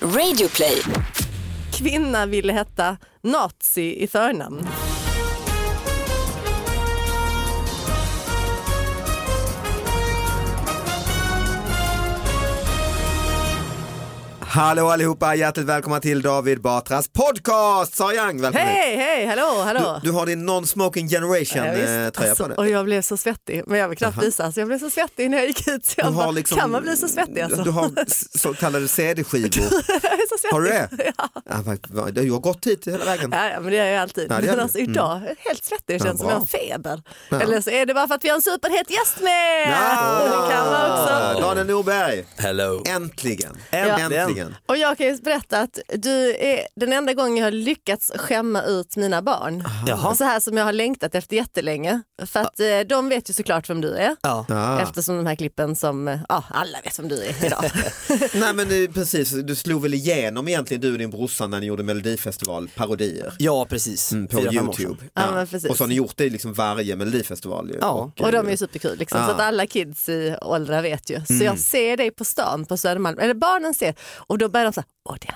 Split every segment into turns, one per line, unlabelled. Radioplay.
Kvinna ville heta nazi i förnamn.
Hallå allihopa, hjärtligt välkomna till David Batras podcast! Sara Young, välkommen hit.
Hej, hej, hallå, hallå.
Du, du har din non-smoking generation
visst.
eh, tröja
alltså,
på dig.
och jag blev så svettig, men jag vill knappt visa. Alltså, jag blev så svettig när jag gick hit. Så jag bara, Kan man bli så svettig alltså?
liksom- Du har s- så kallade CD-skivor.
jag är så svettig.
Har du det? Ja. vad- vad- Du har gått hit hela vägen.
Ja, ja, men det gör jag alltid.
Ja, det gör
men
du.
alltså, idag, är jag helt svettig, det känns som
bra.
jag har feber.
Ja.
Eller så är det bara för att vi har en superhet gäst med! Det kan man också.
Daniel Norberg,
Hello.
äntligen.
Äntligen.
äntligen.
Och jag kan ju berätta att du är den enda gången jag har lyckats skämma ut mina barn.
Jaha.
Så här som jag har längtat efter jättelänge. För att eh, de vet ju såklart vem du är.
Ja.
Ah.
Eftersom de här klippen som, eh, ja alla vet vem du är idag.
Nej men eh, precis, du slog väl igenom egentligen du och din brorsa när ni gjorde Melodifestival-parodier.
ja, precis.
Mm, På
Fyra, fem år sedan.
Youtube.
Ja, men precis.
Och så har ni gjort det liksom varje Melodifestival. Ju.
Ja.
Och de är
eh,
ju superkul, liksom,
Ah.
så att alla kids i åldrar vet ju. Så jag ser dig på stan på Södermalm, eller barnen ser, och då börjar de så här, Åh, det är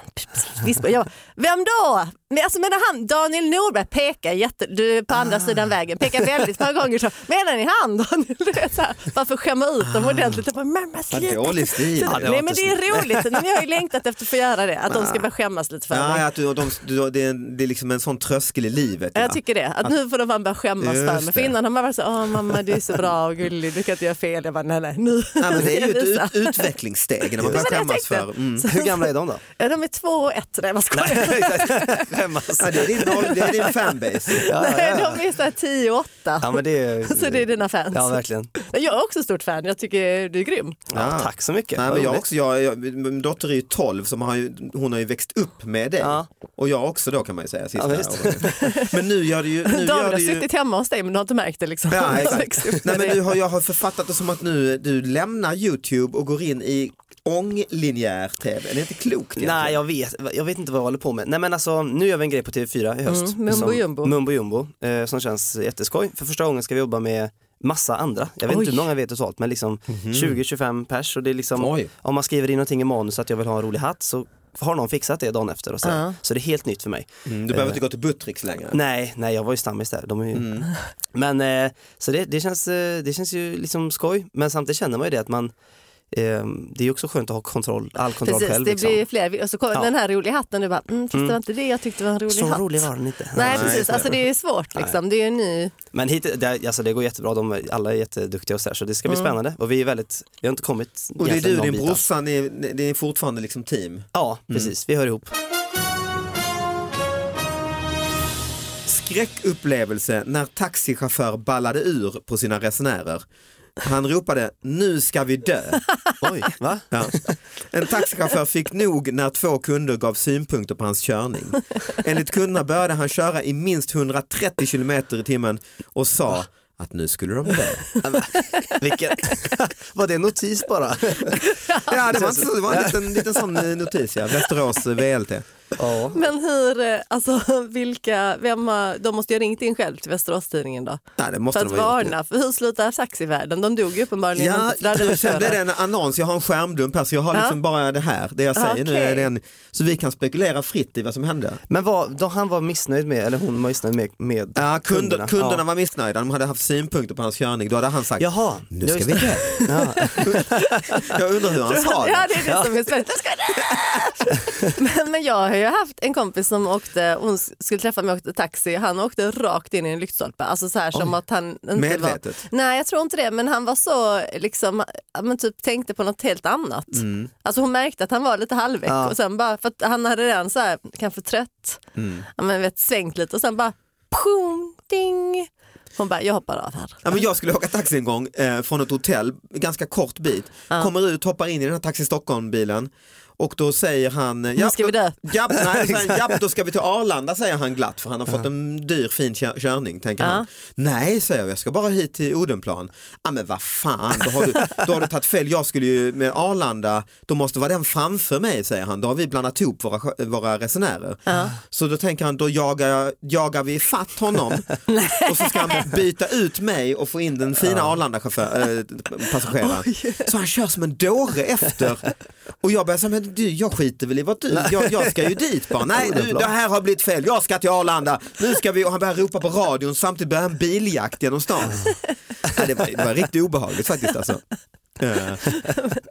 han. Vispa. Jag bara, Vem då? Men alltså menar han Daniel Norberg pekar jätte, du är på andra sidan vägen, pekar väldigt många gånger så, menar ni han Daniel? Det är så här, bara för att skämma ut dem ordentligt. Jag bara, mamma
vad
sluta.
Dålig stil.
Ja, det var
Nej men
inte
det är roligt, Nej, men jag har ju längtat efter att få göra det, att de ska börja skämmas lite för
Ja,
mig.
att du, och de, du, det, är en, det är liksom en sån tröskel i livet.
Jag
ja.
tycker det, att nu får de fan börja skämmas
Just
för mig. För
det.
innan har man varit så åh mamma du är så bra och gullig, du kan inte göra fel. Jag bara, nej nej, nu
Nej, men det är ju
ska jag visa."
ett ut, utvecklingssteg när man
Ja, men
börjar
jag
skämmas för.
tänkte.
Mm.
Så-
Hur gamla är de då?
Ja, de är två och ett, nej jag skojar.
Skämmas.
Ja, det, är din, roll- det är din fanbase.
Ja,
Nej,
ja, ja.
de är såhär tio och åtta.
ja, men det är...
Så Alltså, det är dina fans.
Ja, verkligen.
Men Jag är också stort fan, jag tycker du är grym.
Ja, tack så mycket.
Ah. Nej,
Vad
men jag
roligt.
också, jag, jag, min dotter är ju 12 så man har ju, hon har ju växt upp med det.
Ja.
Och jag också då kan man ju säga. Sista
Ja, visst.
åren. men nu gör det ju... Nu gör
David har
det ju
suttit hemma hos dig men du har inte märkt det liksom.
Ja,
Jag
exakt.
växte upp
Nej,
med det.
men nu har, jag har författat det som att nu du lämnar Youtube och går in i ånglinjär tv. Det är inte klokt egentligen.
Nej jag vet, jag vet inte vad jag håller på med. Nej men alltså nu gör vi en grej på TV4 i höst.
Mm, Mumbo
som-
Jumbo.
Mumbo Jumbo, eh, som känns jätteskoj. För första gången ska vi jobba med massa andra. Jag vet
Oj.
inte hur många vi är totalt men liksom 20-25 pers och det är liksom
Mhm. Oj.
om man skriver in någonting i manus att jag vill ha en rolig hatt så har någon fixat det dagen efter och så,
Ja.
så det är helt nytt för mig. Eh,
Mm, du behöver inte gå till Buttricks längre.
Nej, nej jag var ju stammis där. De är ju...
Mm.
Men eh, så det, det, känns, eh, det känns ju liksom skoj men samtidigt känner man ju det att man eh, det är ju också skönt att ha kontroll, all kontroll
Precis,
själv.
det
liksom.
blir fler. Och så kommer
Ja.
den här roliga hatten, du bara, mm, fast det var inte det jag tyckte var en rolig
Så
hatt.
rolig var den inte.
Nej
Nej,
precis,
inte.
alltså det är svårt liksom. Det är ju en ny,
Men hit, det, alltså det går jättebra, de, alla är jätteduktiga och så, här, så det ska bli spännande. Och vi är väldigt, vi har inte kommit
Mm. Och det är
egentligen
du och
någon
din
bit alls.
brorsa, ni, ni, ni är fortfarande liksom team.
Ja, precis, vi hör ihop.
Skräckupplevelse när taxichaufför ballade ur på sina resenärer. Han ropade nu ska vi dö.
Oj, va?
Ja. En taxichaufför fick nog när två kunder gav synpunkter på hans körning. Enligt kunderna började han köra i minst 130 kilometer i timmen och sa att nu skulle de dö.
Vilken, var det en notis bara?
Ja, det var, inte så, det var en liten, liten sån eh, notis, ja. Västerås eh, VLT.
ja.
men hur, eh, alltså vilka, vem har, de måste ju ha ringt in själv till Västerås-Tidningen då.
Nej, det måste
För att
de ha gjort.
varna, för hur slutar taxivärlden? De dog ju uppenbarligen.
Ja,
Där hade de
sen
kört.
blev det en annons, jag har en skärmdump här så jag har liksom bara det här, det jag säger nu
Okej.
är den, så vi kan spekulera fritt i vad som hände.
Men vad, då han var missnöjd med, eller hon var missnöjd med, med
Ja, kunder, kunderna
Ja.
var missnöjda, de hade haft synpunkter på hans körning, då hade han sagt
Jaha,
nu ska vi dö.
Ja.
Jag undrar hur han sa
Ja
det.
det är det som är spännande. Jag ska dö! men, men jag har ju haft en kompis som åkte, hon skulle träffa mig och åkte taxi, han åkte rakt in i en lyktstolpe. Alltså så här som att han inte
Medvetet?
var... Nej jag tror inte det men han var så liksom, ja, men typ tänkte på något helt annat.
Mm.
Alltså hon märkte att han var lite halvväck
Ja.
och sen bara, för att han hade redan så här, kanske trött,
Mm.
ja, men vet, svängt lite och sen bara, pum, ding. Hon bara, jag hoppar av här.
Ja, men jag skulle åka taxi en gång eh, från ett hotell, ganska kort bit, kommer ut, hoppar in i den här Taxi Stockholm-bilen och då säger han, eh, japp,
ska vi dö."
då- Japp, nej, säger han, japp, då ska vi till Arlanda säger han glatt för han har fått en dyr fin kö- körning tänker han. Nej säger jag, jag ska bara hit till Odenplan. Ja men vad fan, då har, du, då har du tagit fel, jag skulle ju med Arlanda, då måste vara den framför mig säger han, då har vi blandat ihop våra, sjö- våra resenärer. Så då tänker han, då jagar, jag- jagar vi fatt honom och så ska han byta ut mig och få in den fina eh, Arlanda-passageraren. Så han kör som en dåre efter och jag börjar säga, men men du, jag skiter väl i vad du, jag, jag ska ju dit bara. Nej, du, det här har blivit fel, jag ska till Arlanda. Nu ska vi, och han börjar ropa på radion samtidigt börjar en biljakt genom stan. Ja, det, var, det var riktigt obehagligt faktiskt alltså. Eh,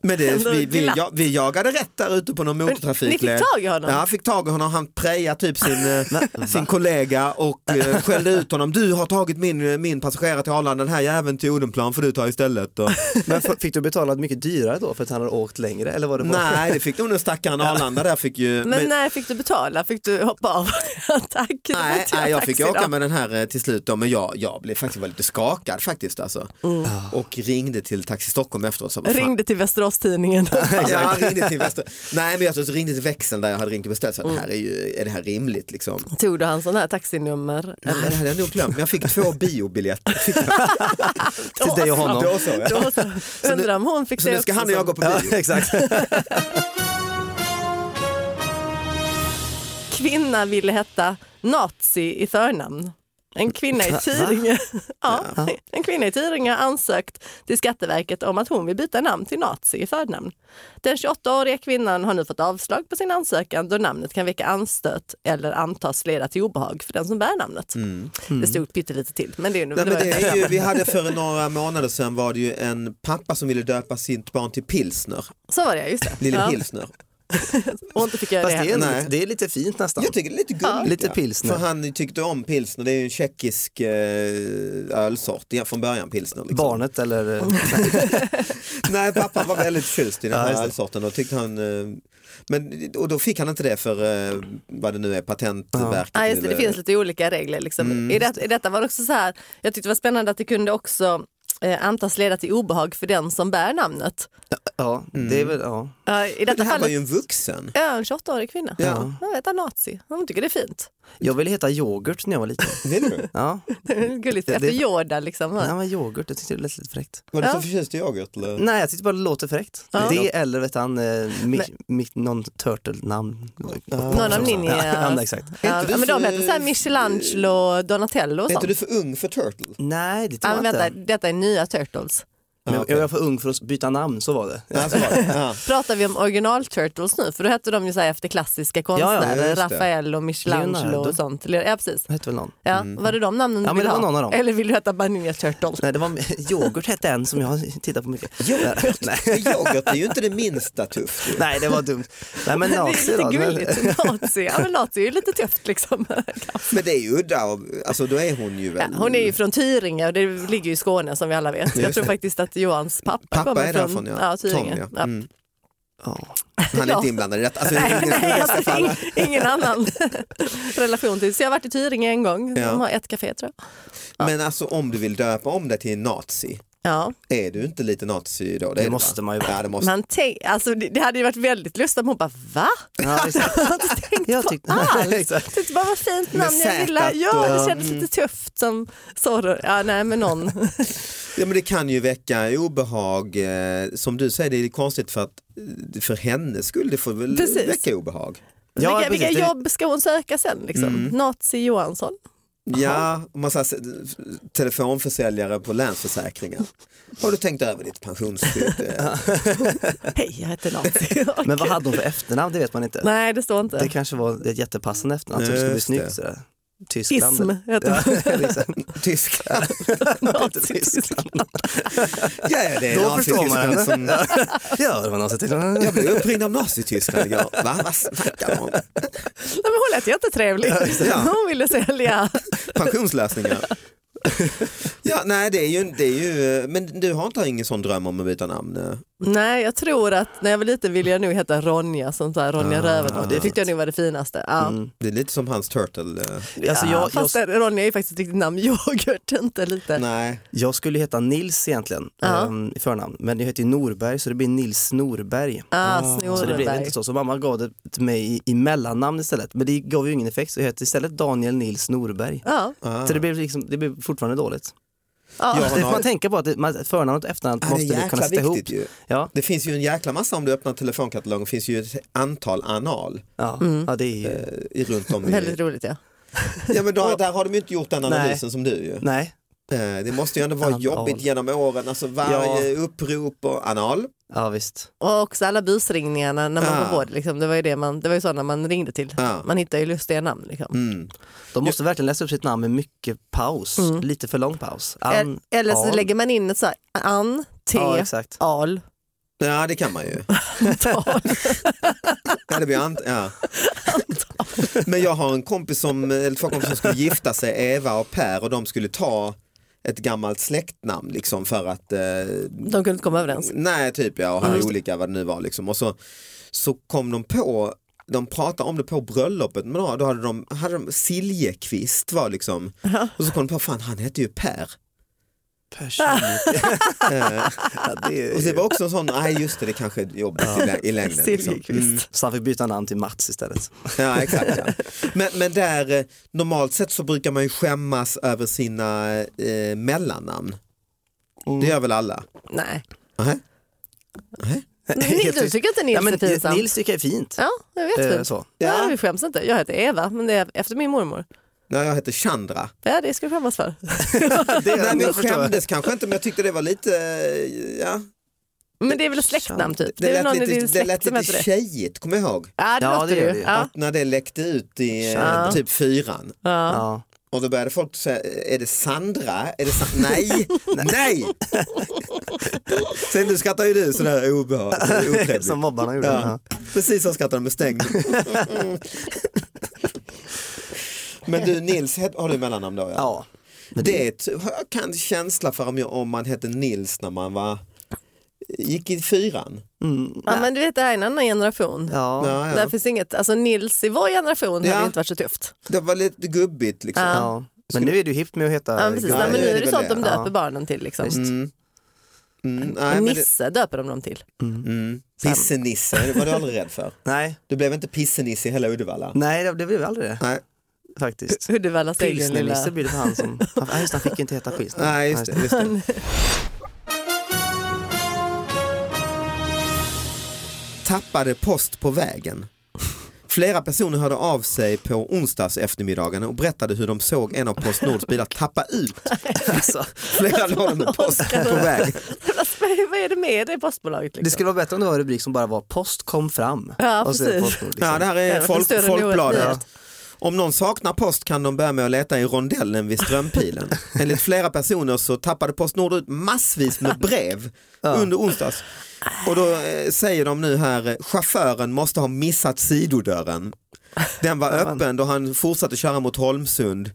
Men det,
Ändå
vi, vi,
glatt.
ja, vi jagade rätt där ute på någon
Ni
motortrafikled.
fick tag i honom?
Ja, han fick tag i honom, han prejade typ sin, eh, sin kollega och eh, skällde ut honom. Du har tagit min, eh, min passagerare till Arlanda, den här jäveln till Odenplan får du ta istället. Och,
Men f- fick du betala mycket dyrare då för att han hade åkt längre? Eller var det bara...
nej, det fick nog den stackaren Arlanda där fick ju.
Men, när fick du betala? Fick du hoppa av attacken?
Nej, nej, jag fick åka med den här eh, till slut då, men jag, jag blev faktiskt var lite skakad faktiskt alltså. Och ringde till Taxi Stockholm efteråt. Så, vad fan.
Ringde till Västerås-Tidningen.
Ja, han ringde till Väster... Nej men jag tror så ringde till växeln där jag hade ringt och beställt. Så att, det här är, ju, är det här rimligt liksom?
Tog du hans sån här taxinummer?
Nej, det hade jag nog glömt. Men jag fick två biobiljetter. Fick jag.
Till dig och honom.
Då så, ja.
Då så. Undrar om hon fick
Så
det
nu ska
också
han och jag
som-
gå på bio.
exakt.
Kvinna ville heta nazi i förnamn. En kvinna i Tyringe ja, en kvinna i Tyringe har ansökt till Skatteverket om att hon vill byta namn till nazi i förnamn. Den 28-åriga kvinnan har nu fått avslag på sin ansökan då namnet kan väcka anstöt eller antas leda till obehag för den som bär namnet. Det stod pyttelite till, men det är nu
Nej, Mm. men
det var-
det är ju, vi hade för några månader sedan var det ju en pappa som ville döpa sitt barn till pilsner,
Så var det, just det.
lille
Ja,
pilsner.
och inte fick göra
Fast
det
det är,
heller.
ändå
Nej.
lite, det är lite fint nästan.
Jag tycker det är lite gulligt.
Lite
ja.
pilsner.
För han tyckte om pilsner, det är ju en tjeckisk eh, ölsort ja, från början pilsner. Liksom.
Barnet eller... eh,
Nej, pappa var väldigt förtjust i den
Ja,
här
just det.
ölsorten och tyckte han eh, men, och då fick han inte det för eh, vad det nu är, Patentverket.
Ja, just det, det
eller- Mm.
finns lite olika regler. Liksom. I, det, I detta var det också så här, jag tyckte det var spännande att det kunde också eh, antas leda till obehag för den som bär namnet.
Ja, det är väl... Ja.
Ja, I
Men det
detta
här var
fallet
ju en vuxen.
Ja, en 28-årig kvinna.
Ja.
Hon heter nazi. Hon tycker det är fint.
Jag ville heta yoghurt när jag var liten.
Vill du?
Ja,
Det är Gulligt
Det-
efter
det-
Yoda liksom.
nej, men yoghurt, jag tyckte det lät lite fräckt.
Var du
Ja.
så förtjust i yoghurt? Eller?
Nej, jag tyckte bara det låter fräckt. Det eller vet han, eh, mi, mi, någon turtle-namn.
Någon av ninja.
Ja, ja, exakt.
Ja,
Inte du
men de
för-
heter så här Michelangelo och Donatello och
Är inte
sånt.
du för ung för Turtle?
Nej, det tror
Ja,
jag
men
inte.
vänta, detta är nya Turtles.
Men
Ja,
jag,
okej.
jag var för ung för att byta namn, så var det.
Ja, så var det. Ja.
Pratar vi om original Turtles nu? För då hette de ju så här efter klassiska
ja,
konstnärer.
just det.
Rafael och Michelangelo
Leonardo.
och sånt. Ja, precis.
Hette väl någon?
Ja,
Mm.
Var det de namnen du
Ja, men
ville
det var
ha?
någon av dem.
Eller vill du heta Baninja Turtle?
Nej, det var yoghurt hette en som jag tittar på mycket. Yoghurt? Nej,
Men Yoghurt är ju inte det minsta tufft. ju.
nej, det var dumt. Nej, men
Det är
nazi
lite
då. Men,
gulligt. Nazi. Ja, men nazi är ju lite tufft liksom.
Men det är ju udda, och, alltså då är hon ju
Ja,
väl...
hon är ju från Tyringe och det ligger ju i Skåne som vi alla vet. Jag
Just
tror
det.
faktiskt att Johans pappa,
Pappa
kommer
är därifrån ja.
Tyringe.
Tom, ja.
Ja.
Mm.
ja.
Han är
Ja.
inte inblandad i detta. Alltså,
Nej,
ingen
nej,
skugga ska
alltså,
falla.
ing, ingen annan relation till. Så jag har varit i Tyringe en gång.
Ja.
De har ett café tror jag.
Men alltså om du vill döpa om dig till en nazi,
Ja.
är du inte lite nazi då?
Det
är
måste
va?
man ju vara.
Ja, det måste.
Man tänk, alltså, det, det hade ju varit väldigt lustigt om hon bara va?
Ja, exakt.
Jag har inte tänkt
Jag
på
tyckte-
alls.
Exakt.
Tyckte bara vad fint
Med
namn jag
Z
gillar.
att-
Ja, det
eh,
ja,
kändes lite tufft som sorr. Ja, nej men någon.
Ja, men det kan ju väcka obehag. eh, Som du säger, det är konstigt för att eh, för hennes skull, det får väl
Precis.
väcka obehag.
vilka,
Ja, precis. Mm.
vilka
Det-
jobb ska hon söka sen liksom? Nazi Johansson.
Ja, om man säger telefonförsäljare på Länsförsäkringar. Har du tänkt över ditt pensionsskydd? Eh,
Hej, jag heter Nazi.
men vad hade hon för efternamn? Det vet man inte.
Nej, det står inte.
Det kanske var ett jättepassande efternamn, att det skulle bli
Just det.
snyggt sådär. Tyskland.
Ism heter
Ja,
liksom,
exakt.
Tyskland.
Nazityskland.
Ja, ja, det är
Då förstår man
Nazityskland
henne.
som...
Ja, det var någon som
Jag
tyckte...
blev uppringd av Nazityskland igår. Va? Vad snackar de om?
Nej, men hon lät jättetrevlig.
Ja.
Hon ville sälja.
Pensionslösningar. Ja, nej, det är ju, det är ju, men du har inte ingen sån dröm om att byta namn? eh?
Nej, jag tror att när jag var liten ville jag nog heta Ronja, sånt där,
Ah,
Ronja Rövardotter. Det tyckte jag nog var det finaste. Ja.
Det är lite som hans turtle. eh.
Mm. Alltså, jag, jag,
Fast Ronja är ju faktiskt ett riktigt namn, yoghurt inte lite.
Nej,
jag skulle ju heta Nils egentligen,
Ja.
ehm, i förnamn. Men jag heter ju Norberg så det blir Nils Norberg.
Ah,
Så det blev
Snorberg.
inte så. Så mamma gav det till mig i, i mellannamn istället. Men det gav ju ingen effekt. Så jag hette istället Daniel Nils Norberg.
Ja,
Ah.
Så det blev, liksom, det blev fortfarande dåligt.
ja.
Ja,
Det får
har-
man tänka på att det- man- förnamn och efternamn
Ja, det är
måste du kunna
jäkla
sätta ihop.
viktigt ju.
Ja,
Det finns ju en jäkla massa om du öppnar telefonkatalogen, finns ju ett antal anal
ja.
Mm.
ja det är ju...
eh, i- runt om i...
väldigt roligt ja.
Ja men då, där har de ju inte gjort den
Nej.
analysen som du ju.
Nej,
Eh, Det måste ju ändå vara
Anal.
jobbigt genom åren, alltså varje upprop och anal.
Ja visst.
Och också alla busringningarna när man
Ah.
var vård, liksom, det var ju det man, det var ju sådana man ringde till.
Ah.
Man hittade ju lustiga namn. Liksom.
Mm.
De måste verkligen läsa upp sitt namn med mycket paus, lite för lång paus. Ann,
El- Mm. Eller så
Al.
lägger man in ett så här, Ann, T,
Ja exakt.
Al,
Ja det kan man ju.
Tal.
Ja, det blir ant- ja. Men jag har en kompis som, eller två kompisar som skulle gifta sig, Eva och Per och de skulle ta ett gammalt släktnamn liksom för att eh,
De kunde inte komma överens.
Nej, typ ja, och här är olika vad det nu var liksom. Och så, så kom de på, de pratade om det på bröllopet, men då, då hade de, hade de Siljekvist var liksom, och så kom de på, fan han hette ju Per.
Ja, det
Och
är...
det var också en sån, nej just det, det kanske är jobbigt i, lä- i längden. Liksom.
Siljekvist.
Mm. Så han fick byta namn till Mats istället.
Ja, exakt, ja. Men, men där, eh, normalt sett så brukar man ju skämmas över sina eh, mellannamn. Det gör väl alla?
Nej.
Nej.
Ni,
Helt
du
tyst.
tycker inte Nils
Ja, men
är pinsam?
Nils tycker jag är fint.
Ja, jag vet
Eh,
vi.
så.
Ja.
Ja.
vi skäms inte. Jag heter Eva, men det är efter min mormor.
Nej, jag heter Chandra.
Ja, det ska vi skämmas för.
Det,
Nej, men jag
förstår jag.
skämdes kanske inte men jag tyckte det var lite, eh, ja,
Men det är väl ett släktnamn typ? Det,
Det,
är väl
lät,
någon i
lite,
din
det
släkt
lät
som
lite
heter det?
tjejigt, kommer jag ihåg?
Ja, det
Ja,
låter
det
det
gör
ju.
det.
Ja.
När det läckte ut i eh,
Ja.
typ fyran.
Ja.
Ja.
Och då började folk säga, är det Sandra? Är det Sa nej, nej! Sen nu skrattar ju du sådär obehagligt, otrevligt.
Som mobbarna gjorde.
Ja,
Ja.
precis som skrattar de med stängd. Men du Nils, het- har du mellannamn då? Ja.
ja.
Det är ett- har jag kan känsla för om, jag, om man hette Nils när man var, gick i fyran.
Mm.
Ja, men du vet, det här är en annan generation.
Ja.
Ja, ja.
Där finns inget, alltså Nils i vår generation
Ja.
hade inte varit så tufft.
Det var lite gubbigt liksom.
Ja.
ja. Men nu är du hippt med att heta
Ja, precis.
ja,
Nej, men
det
nu
är
är det
väl
sånt
det.
de döper
Ja.
barnen till. Liksom.
Visst.
Mm. Mm, nej, men det,
Nisse döper de dem till.
mm. Pissenisse, det var du aldrig rädd för.
Nej,
Du blev inte pissenisse i hela Uddevalla.
nej det, det blev aldrig det
Nej,
faktiskt.
Uddevallas egen lilla...
Pilsner-Nisse blir det för han som, han, ja, just, det, han fick ju inte heta pilsner.
nej just det. Just det. Tappade post på vägen. Flera personer hörde av sig på onsdags eftermiddagen och berättade hur de såg en av Postnords bilar tappa ut
Alltså,
flera lådor med post på väg.
Vad är det med det postbolaget?
det
Liksom?
skulle vara bättre om det var en rubrik som bara var post kom fram.
Ja,
Och så är
precis.
Postnord, liksom.
Ja, det här är
Ja,
folk,
större
Folkbladet.
nyhet.
Om någon saknar post kan de börja med att leta i rondellen vid Strömpilen. Enligt flera personer så tappade Postnord ut massvis med brev under onsdags. Och då eh, säger de nu här, eh, chauffören måste ha missat sidodörren. Den var öppen då han fortsatte köra mot Holmsund.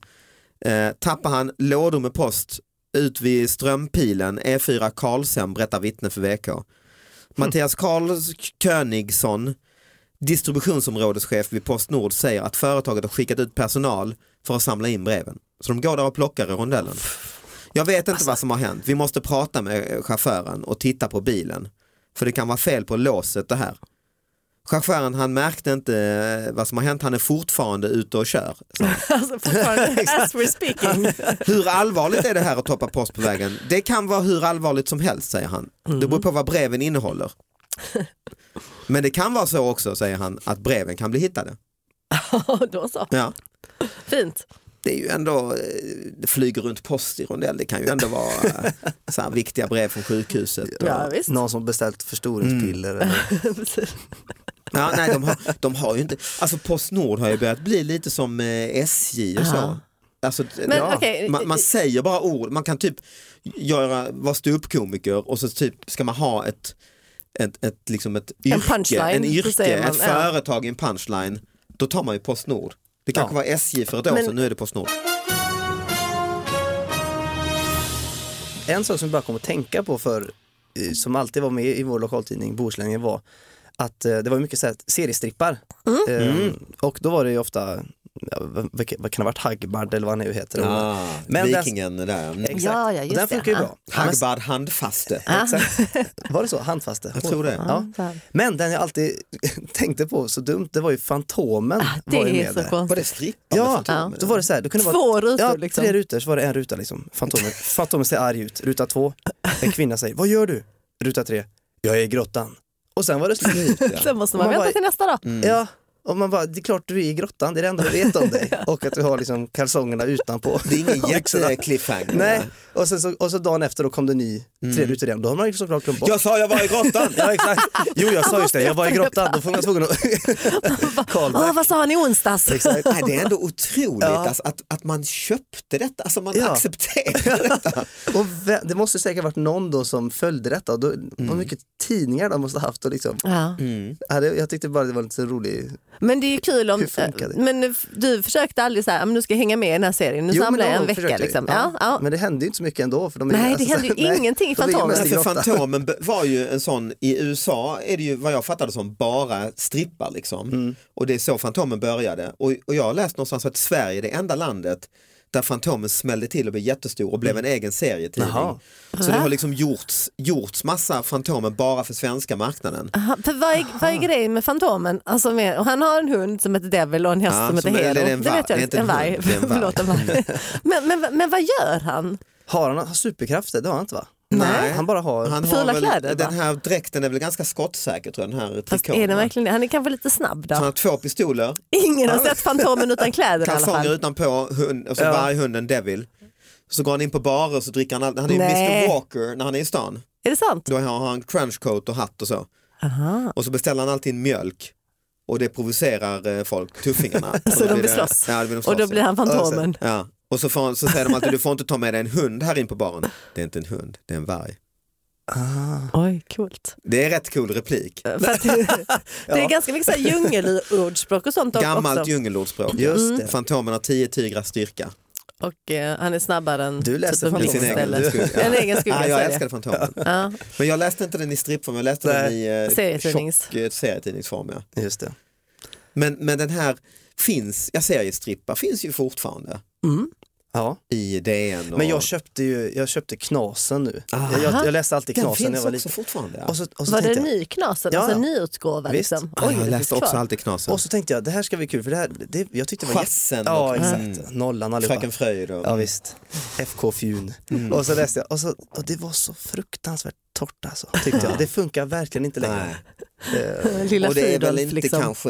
Eh, tappar han lådor med post ut vid Strömpilen, E4 Karlshem, berättar vittne för VK. Mattias Karl Königsson, distributionsområdeschef vid Postnord, säger att företaget har skickat ut personal för att samla in breven. Så de går där och plockar i rondellen. Jag vet inte vad som har hänt. Vi måste prata med eh, chauffören och titta på bilen. För det kan vara fel på låset det här. Chauffören han märkte inte eh, vad som har hänt, han är fortfarande ute och kör. sa han.
Alltså, fortfarande, as we're speaking.
Hur allvarligt är det här att toppa post på vägen? Det kan vara hur allvarligt som helst säger han. Det beror på vad breven innehåller. Men det kan vara så också säger han att breven kan bli hittade.
Ja, Då så,
Ja.
fint.
Det är ju ändå, eh, det flyger runt post i rondell, det kan ju ändå vara eh, så här viktiga brev från sjukhuset. Och,
Ja, visst.
Någon som beställt förstoringspiller.
Mm.
Eller,
Precis.
ja, nej, de, har, de har ju inte, alltså Postnord har ju börjat bli lite som eh, SJ och så.
Aha.
Alltså,
Men
ja.
okej.
man, man säger bara ord, man kan typ göra, vara ståuppkomiker och så typ ska man ha ett, ett, ett, liksom ett yrke,
punchline,
en
så
yrke
säger man,
ett
ja.
företag, en punchline, då tar man ju Postnord. Det kanske var SJ för ett år
Men-
sedan, nu är det Postnord.
en sak som jag bara kom att tänka på för, eh, som alltid var med i vår lokaltidning Bohuslänningen var att eh, det var mycket så här, seriestrippar.
Mm.
Ehm,
Mm.
och då var det ju ofta, ja, vad, vad kan det ha varit, Hagbard eller vad han nu heter.
Ah,
Men den-
Vikingen där. Mm.
Exakt.
Ja, ja, just
och den
det.
funkar ju
Ja.
bra.
Hagbard handfaste.
Exakt. Var det så? Handfaste?
Jag tror det.
Ja. Men den jag alltid tänkte på, så dumt, det var ju Fantomen.
Ah, Det
var ju
är
med
så
där.
Var
konstigt.
det strippan?
Ja,
Ja.
då var det så här, det kunde vara
Två rutor
ja,
liksom.
tre rutor, så var det en ruta liksom. Fantomen, Fantomen ser arg ut, ruta två, en kvinna säger, vad gör du? Ruta tre, jag är i grottan. Och sen var det slut.
Sen måste man,
Man
vänta
bara- Mm.
till nästa dag.
Ja, Och man bara, det är klart du är i grottan, det är det enda du vet om dig. Och att du har liksom kalsongerna utanpå.
Det är ingen jättecliffhanger.
Nej, och, sen så, och så dagen efter då kom det en ny tredje utredning. Då har man ju såklart glömt bort.
Jag sa jag var i grottan!
Mm. Ja, exakt. Jo, jag sa just det, jag var i grottan. Då får man tvungen att...
Åh,
Karlberg.
vad sa han i onsdags?
Exakt.
Nej, det är ändå otroligt
Ja.
alltså, att, att man köpte detta, alltså man
Ja.
accepterade detta.
Och ve- det måste säkert varit någon då som följde detta. Och då, Vad mycket tidningar de måste ha haft. Och liksom,
Ja.
ja, det, jag tyckte bara det var lite så rolig.
Men det är ju kul om,
Hur funkar det?
men f- du försökte aldrig så här, "Ah, men nu ska jag hänga med i den här serien, nu samlar
men
jag
då
en vecka.
försökte jag ju.
liksom.
Ja,
ja. Ja,
Men det hände ju inte så mycket ändå. För de är
Nej, det
alltså,
hände ju
nej,
ingenting i
de ligger
Fantomen.
mest i
Men för
grottan.
Fantomen b- var ju en sån, i USA är det ju vad jag fattade som bara strippar liksom.
Mm.
Och det är så Fantomen började. Och, och jag har läst någonstans att Sverige är det enda landet där Fantomen smällde till och blev jättestor och
Mm.
blev en egen serietidning.
Jaha.
Så det har liksom gjorts, gjorts massa Fantomen bara för svenska marknaden.
Aha, för vad, är, vad är grejen med Fantomen? Alltså med, och han har en hund som heter Devil och en häst
Ja,
som heter
som är-
Hero.
det är en varg,
vet jag
det är
inte.
inte
En
en
varg.
hund, det är en varg.
Förlåt, en varg. men, men, men vad gör han?
Har han har superkrafter? Det har han inte va?
Nej.
Han bara har...
Han
Fula
har väl,
kläder, va?
den här dräkten är väl ganska skottsäker tror jag, den här
Fast
trikån.
är den
va?
verkligen det? Han är kanske lite snabb
Så Han
då.
har två pistoler,
Ingen har sett Fantomen utan kläder i alla fall.
kalsonger utanpå hund, och så
Ja.
varghunden Devil. Så går han in på barer och så dricker han, all- han är ju
Nej.
Mr Walker när han är i stan.
Är det sant?
Då har han trenchcoat och hatt och så. Och så beställer han alltid en mjölk och det provocerar eh, folk, tuffingarna. Och då
de
blir
vill
det-
slåss.
Ja, det blir de
Och då
slåss,
blir han Fantomen.
ja. ja. Och så, får, han- så säger de alltid du får inte ta med dig en hund här in på baren. Det är inte en hund, det är en varg.
Oj, coolt.
Det är rätt cool replik.
För att, det är ganska mycket så här djungelordspråk och sånt
Gammalt
också.
djungelordspråk. Mm.
Just det.
Fantomen har tio tigrars styrka.
Och eh, han är snabbare än typ
Du läser
en
Fantomen.
egen
Sin egen
skugga.
skugga.
En egen skugga
Ja, jag
säger
älskade Fantomen.
Ja.
Men jag läste inte den i strippform, jag läste den i eh,
Serietidnings.
tjock eh, serietidningsform. Ja.
Just det.
Men, men den här finns, jag seriestrippar finns ju fortfarande
Ja.
i DN. Och,
Men jag köpte ju jag köpte Knasen nu.
Ah.
Jag, jag, jag läste alltid
den
Knasen när jag
finns
var
också
liten.
fortfarande. Ja.
Och så, och så
Var det
tänkte
en
jag-
ny knasen?
Ja,
Alltså en
ja.
ny utgåva
Visst.
liksom?
Ja,
det
jag
finns
läste
kvar.
också alltid Knasen.
Och så tänkte jag, det här ska bli kul för det här, det, jag tyckte det var
Chassen
jätte- Ja
och-
exakt,
Mm.
nollan allihopa.
Fröken Mm. Fröjd och...
Ja visst, FK Fjun. Och så läste jag, och, så, och det var så fruktansvärt torrt alltså, tyckte jag. Det funkar verkligen inte längre.
Nej.
Lilla
Och det är väl
Fridolf
inte
liksom.
kanske,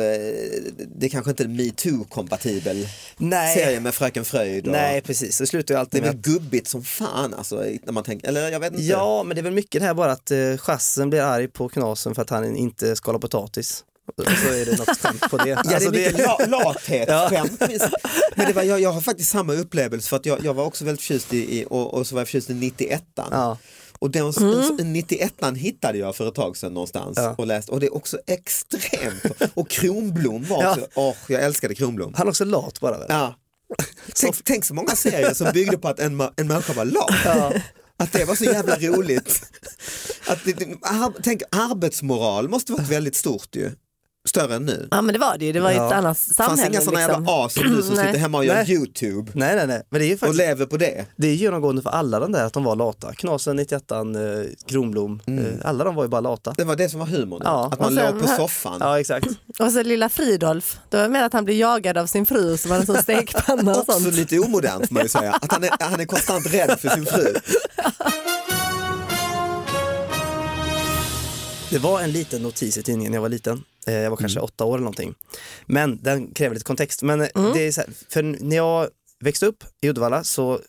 det är kanske inte en metoo-kompatibel
Nej,
serie med Fröken Fröjd. Och,
nej precis, det slutar ju
Det är
alltid med
väl
att
gubbigt som fan alltså, när man tänker, eller jag vet inte.
Ja, men det är väl mycket det här bara att eh, chassen blir arg på Knasen för att han inte skalar potatis. Och så är det något skämt på det.
Ja,
Alltså,
det är mycket la- lathetskämt. Men det var, jag, jag har faktiskt samma upplevelse för att jag, jag var också väldigt förtjust i, i och, och så var jag förtjust i 91
Ja.
Och den den 91 hittade jag för ett tag sedan någonstans
Ja.
och läste och det är också extremt. Och Kronblom var också, åh jag älskade Kronblom.
Han är också lat bara väl?
Ja. Tänk, tänk så många serier som byggde på att en, ma- en människa var lat. Att det var så jävla roligt. Att det, det, ar- tänk arbetsmoral måste varit väldigt stort ju. Större än nu.
Ja men det var det ju, det var ju ett
Ja.
annat
Det fanns
samhälle.
inga sådana
liksom.
jävla as som du som
Nej.
sitter hemma och gör
Nej.
YouTube
Nej, nej, nej, men det är ju
och
faktiskt
lever på det.
det är genomgående för alla de där att de var lata. Knasen, 91 eh, Kronblom,
Mm.
eh, alla de var ju bara lata.
Det var det som var humorn,
Ja.
att man
Och sen
låg på
här-
soffan.
Ja, exakt.
Och så lilla Fridolf, då var jag med att han blev jagad av sin fru som hade en sån stekpanna och
Också
sånt.
lite omodernt får man ju säga, att han är, han är konstant rädd för sin fru.
Det var en liten notis i tidningen när jag var liten. Eh, Jag var kanske
Mm.
åtta år eller någonting. Men den kräver lite kontext. Men eh,
Mm.
det är så här, för när jag växte upp i Uddevalla så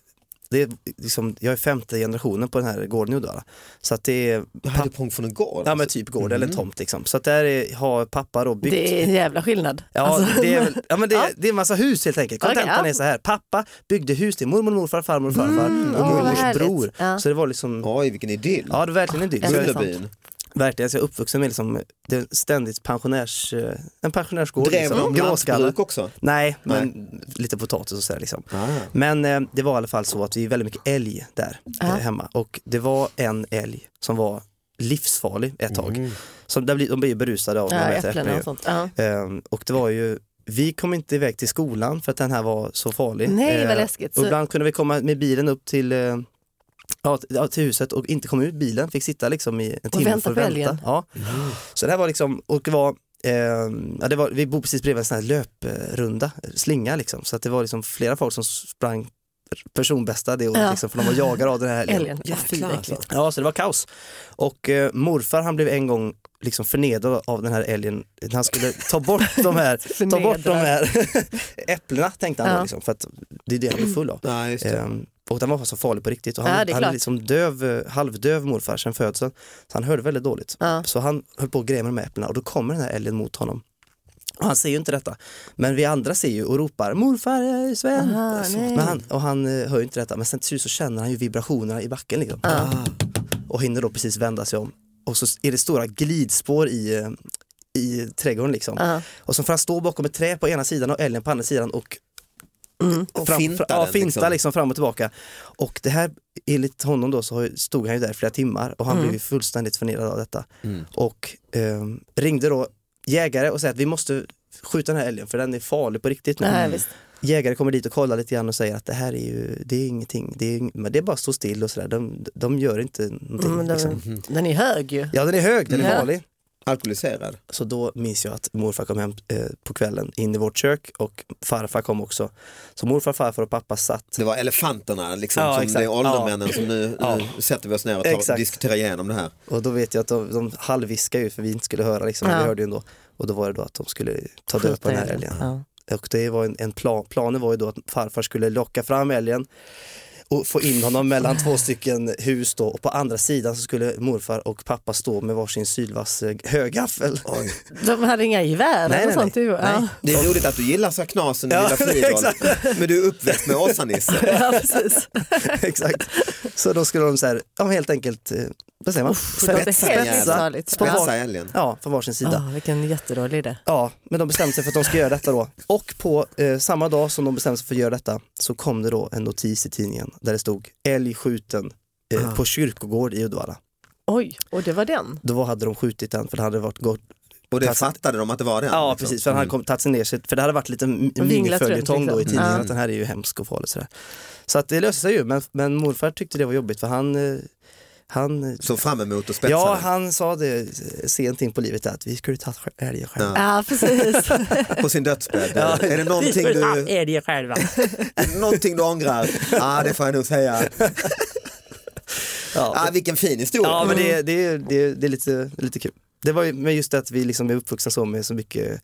det är liksom, jag är femte generationen på den här gården i Uddevalla. Så att det är
Jag hade prång från en gård.
ja, men typ gård eller tomt liksom. Så att där är, har pappa då byggt
Mm. Det är en jävla skillnad.
Ja,
Alltså,
det, är, väl- ja, men det,
Ja.
det är en massa hus helt enkelt.
Okej,
Kontentan
ja.
är så här, pappa byggde hus till mormor, morfar, farmor, farfar och
Mm, åh, vad
mormors
härligt.
bror.
Ja.
Så det var liksom,
Oj vilken idyll.
ja det var verkligen en dyr.
Ja, det är sant.
Bullerbyn.
Verkligen, så jag är uppvuxen med liksom, det är ständigt pensionärs, eh, en pensionärsgård.
Drev
liksom.
de
Gråskallar.
lantbruk också?
Nej, men lite potatis och sådär liksom.
Ah.
Men eh, det var i alla fall så att vi är väldigt mycket älg där eh, hemma och det var en älg som var livsfarlig ett tag. Så där blir, de blir ju berusade av när
Mm. Ja,
de äter
äpplen
äpplen.
och sånt. Ja.
ju. Ehm, och det var ju, vi kom inte iväg till skolan för att den här var så farlig.
Nej, vad
Ehm,
läskigt.
Och
Så-
ibland kunde vi komma med bilen upp till eh, Ja, t- ja, till huset och inte komma ut bilen, fick sitta liksom i en timme
vänta
för att
på
vänta.
älgen.
Ja. Så det här var liksom, och det var, eh, ja, det var, vi bor precis bredvid en sån här löprunda, slinga liksom, så att det var liksom flera folk som sprang personbästa det året,
Ja.
liksom, för de var jagade av den här alltså. älgen.
Älgen, ja, fy vad äckligt.
Ja, så det var kaos. Och eh, morfar han blev en gång liksom förnedrad av den här älgen. Han skulle ta bort de här, ta bort de här äpplena tänkte han
Ja.
då, liksom, för att det är det han är full av.
Nej, just det.
Ehm, och den var så farlig på riktigt och han,
Ja, det är
han
klart.
är liksom döv, eh, halvdöv morfar sedan födseln. Så han hörde väldigt dåligt.
Ja.
Så han höll på att gräva med äpplena och då kommer den här älgen mot honom. Och han ser ju inte detta. Men vi andra ser ju och ropar morfar eh, Sven.
Aha,
Så-
nej.
men han, och han eh, hör ju inte detta men sen till slut så känner han ju vibrationerna i backen liksom.
Ah.
Och hinner då precis vända sig om. Och så är det stora glidspår i, eh, i trädgården liksom.
Ja.
Och så får han stå bakom ett träd på ena sidan och älgen på andra sidan och
Mm.
Och
fram,
finta
ja,
den,
finta
liksom.
liksom. fram och tillbaka. Och det här, enligt honom då, så har- stod han ju där i flera timmar
Mm.
och han blev ju fullständigt förnedrad av detta.
Mm.
Och ehm, ringde då jägare och sa att vi måste skjuta den här älgen för den är farlig på riktigt nu.
Nej, visst.
Jägare kommer dit och kollar lite grann och säger att det här är ju, det är ingenting, det är, ing- men det är bara att stå still och sådär, de, de gör inte någonting.
Men
liksom.
den, Mm, den är hög ju.
Ja den är hög, den är
Ja.
farlig.
Alkoholiserad.
Så då minns jag att morfar kom hem eh, på kvällen in i vårt kök och farfar kom också. Så morfar, farfar och pappa satt
Det var elefanterna, liksom,
Ja,
som
exakt.
det är åldermännen som nu,
Ja.
nu sätter vi oss ner och tar,
Exakt.
diskuterar igenom det här.
och då vet jag att de, de halvviskade ju för vi inte skulle höra liksom,
Ja.
vi hörde ju ändå. Och då var det då att de skulle ta död på den här älgen.
Ja.
Och det var en, en plan, planen var ju då att farfar skulle locka fram älgen och få in honom mellan två stycken hus då och på andra sidan så skulle morfar och pappa stå med varsin sylvass eh, högaffel.
De hade inga gevär
Nej,
eller
nej,
sånt.
nej.
ju. Ja.
Nej.
Det är roligt att du gillar så här knasen och
Ah. Ja,
gillar Fridolf,
exakt.
men du är uppväxt med Åsa-Nisse.
Ja, precis.
Exakt. Så då skulle de så här, ja, men helt enkelt, eh, vad säger man?
det låter helt
spetsa,
saligt.
på
Spetsa
var,
älgen.
ja, på varsin sida.
Oh, vilken jättedålig idé.
Ja, men de bestämde sig för att de ska göra detta då. Och på eh, samma dag som de bestämde sig för att göra detta så kom det då en notis i tidningen där det stod älg skjuten eh, på kyrkogård i Uddevalla.
Oj, och det var den.
Då hade de skjutit den för det hade varit gått.
Och det
Tack.
fattade de att det var den.
Ja
liksom.
precis, för han hade kommit- tagit sig ner sig, för det hade varit lite m-
runt,
miniföljetong då i
liksom.
tidningen
Ja.
att den här är ju hemsk och farlig sådär. Så att det löste sig ju, men, men morfar tyckte det var jobbigt för han, eh, han eh,
Såg fram emot och spetsade.
Ja,
Ja,
han sa det eh, sent in på livet att vi skulle ta älgen själva.
Ja, precis.
På sin dödsbädd. Är det någonting du,
är det själva.
är det någonting du ångrar? Ja, ah, det får jag nog säga.
Ja,
Ah, vilken fin historia.
ja men det, det, det, det är lite, lite kul. Det var ju men just det att vi liksom är uppvuxna så med så mycket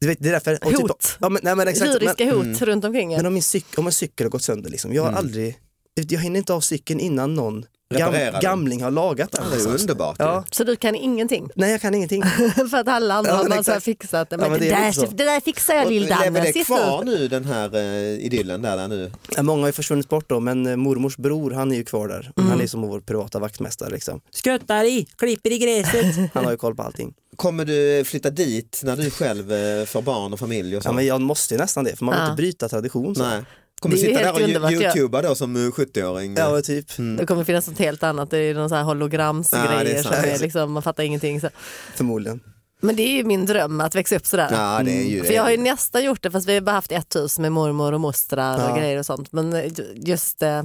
du vet, det är därför, och typ-
Hot.
ja, men, nej, men exakt, men, Mm.
Juridiska hot runt omkring
men
en.
om, min cyk, om en cykel har gått sönder, liksom, jag har aldrig, jag hinner inte av cykeln innan någon gam,
Reparerar den.
gamling har lagat den.
Det är ju
liksom.
underbart.
Ja.
Så du kan ingenting
Nej jag kan ingenting.
för att alla andra
Ja,
har
men
bara så här
exakt.
fixat det.
Ja,
Men
men
det,
det är
där,
lite så.
det där fixar jag
Och Lever
lill-Danne.
det kvar nu den här eh, idyllen där, där nu?
Ja, Många har ju försvunnit bort då men eh, mormors bror han är ju kvar där. Han är som vår privata vaktmästare. Liksom.
skuttar i, klipper i gräset.
Han har ju koll på allting.
Kommer du flytta dit när du själv eh, får barn och familj och så?
Ja, men jag måste ju nästan det, för man vill
Ja.
inte bryta tradition. Så.
Nej. Kommer du
Det är
sitta
ju
där
helt
och
underbart,
you-
ja.
youtuba då som eh, 70-åring?
Ja, men typ.
Det kommer finnas något helt annat, det är någon så här
Ja, det
hologramsgrejer
är
som
sant.
är liksom, man fattar ingenting. Så.
Förmodligen.
Men det är ju min dröm att växa upp sådär.
Ja, det är ju
För jag har ju nästan gjort det fast vi har bara haft ett hus med mormor och mostrar
Ja.
och grejer och sånt. Men eh, just, eh,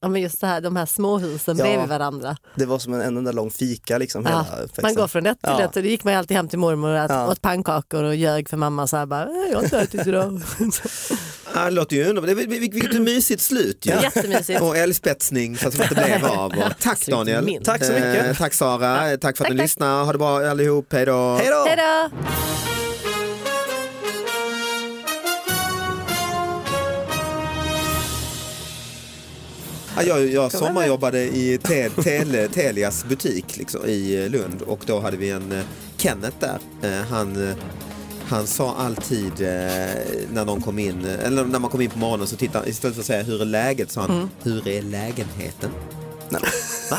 ja, men just det här, de här småhusen
Ja.
bredvid varandra.
Det var som en, en enda lång fika liksom.
Ja,
hela uppväxten.
man går från ett till
Ja.
ett och det gick man ju alltid hem till mormor och ät,
Ja.
åt pannkakor och ljög för mamma så här bara, "Eh, jag har inte ätit idag.
Ja, det låter ju underbart. Det- vil- vil- Vilket mysigt slut ju.
Jättemysigt.
Och älgspetsning fast det inte blev av. Och tack
Absolut
Daniel.
minst.
Tack så mycket.
Eh, tack Sara. Tack för att
Tack,
ni
tack.
lyssnar. Ha det bra allihop. Hej då.
Hej då!
Hej då!
Ja, jag, jag sommarjobbade i te, tele, Telias butik liksom, i Lund och då hade vi en eh, Kenneth där. Eh, Han, eh, han sa alltid eh, när, någon kom in, eh, eller när man kom in på morgonen så tittade han, istället för att säga hur är läget sa han, hur är lägenheten?
Mm. Nej, men, va?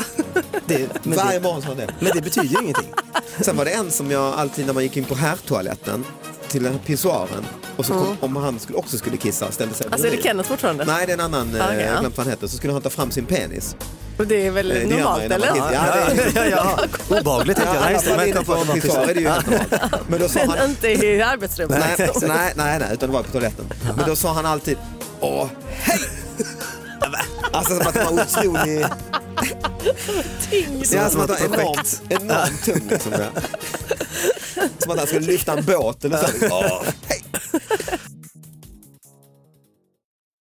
Det, men,
Varje
det,
morgon sa han det.
men det betyder ju ingenting.
Sen var det en som jag alltid när man gick in på herrtoaletten till den här pissoaren och så kom, om han skulle, också skulle kissa ställde sig
Alltså är det
bredvid.
Kenneth fortfarande?
Nej, det är en annan, eh,
okej,
jag
ja.
har glömt vad han heter, så skulle han ta fram sin penis.
Och det är väl
Eh, det gör man ju
normalt
när man
eller?
tittar. Ja, det är-
ja, ja. Obehagligt tänkte jag.
Ja,
Nej,
alla
just det,
fall
men
inne
jag
på
kom på
en pissoar är det ju helt normalt. Men då sa han,
Men inte i arbetsrummet.
Nej, nej, nej, nej, utan det var på toaletten. Men då sa han alltid Åh, hej! Alltså som att han var otrolig.
Tyngd.
Ja, som att han var enormt, enormt tung. Liksom. Som att han skulle lyfta en båt eller så. Åh,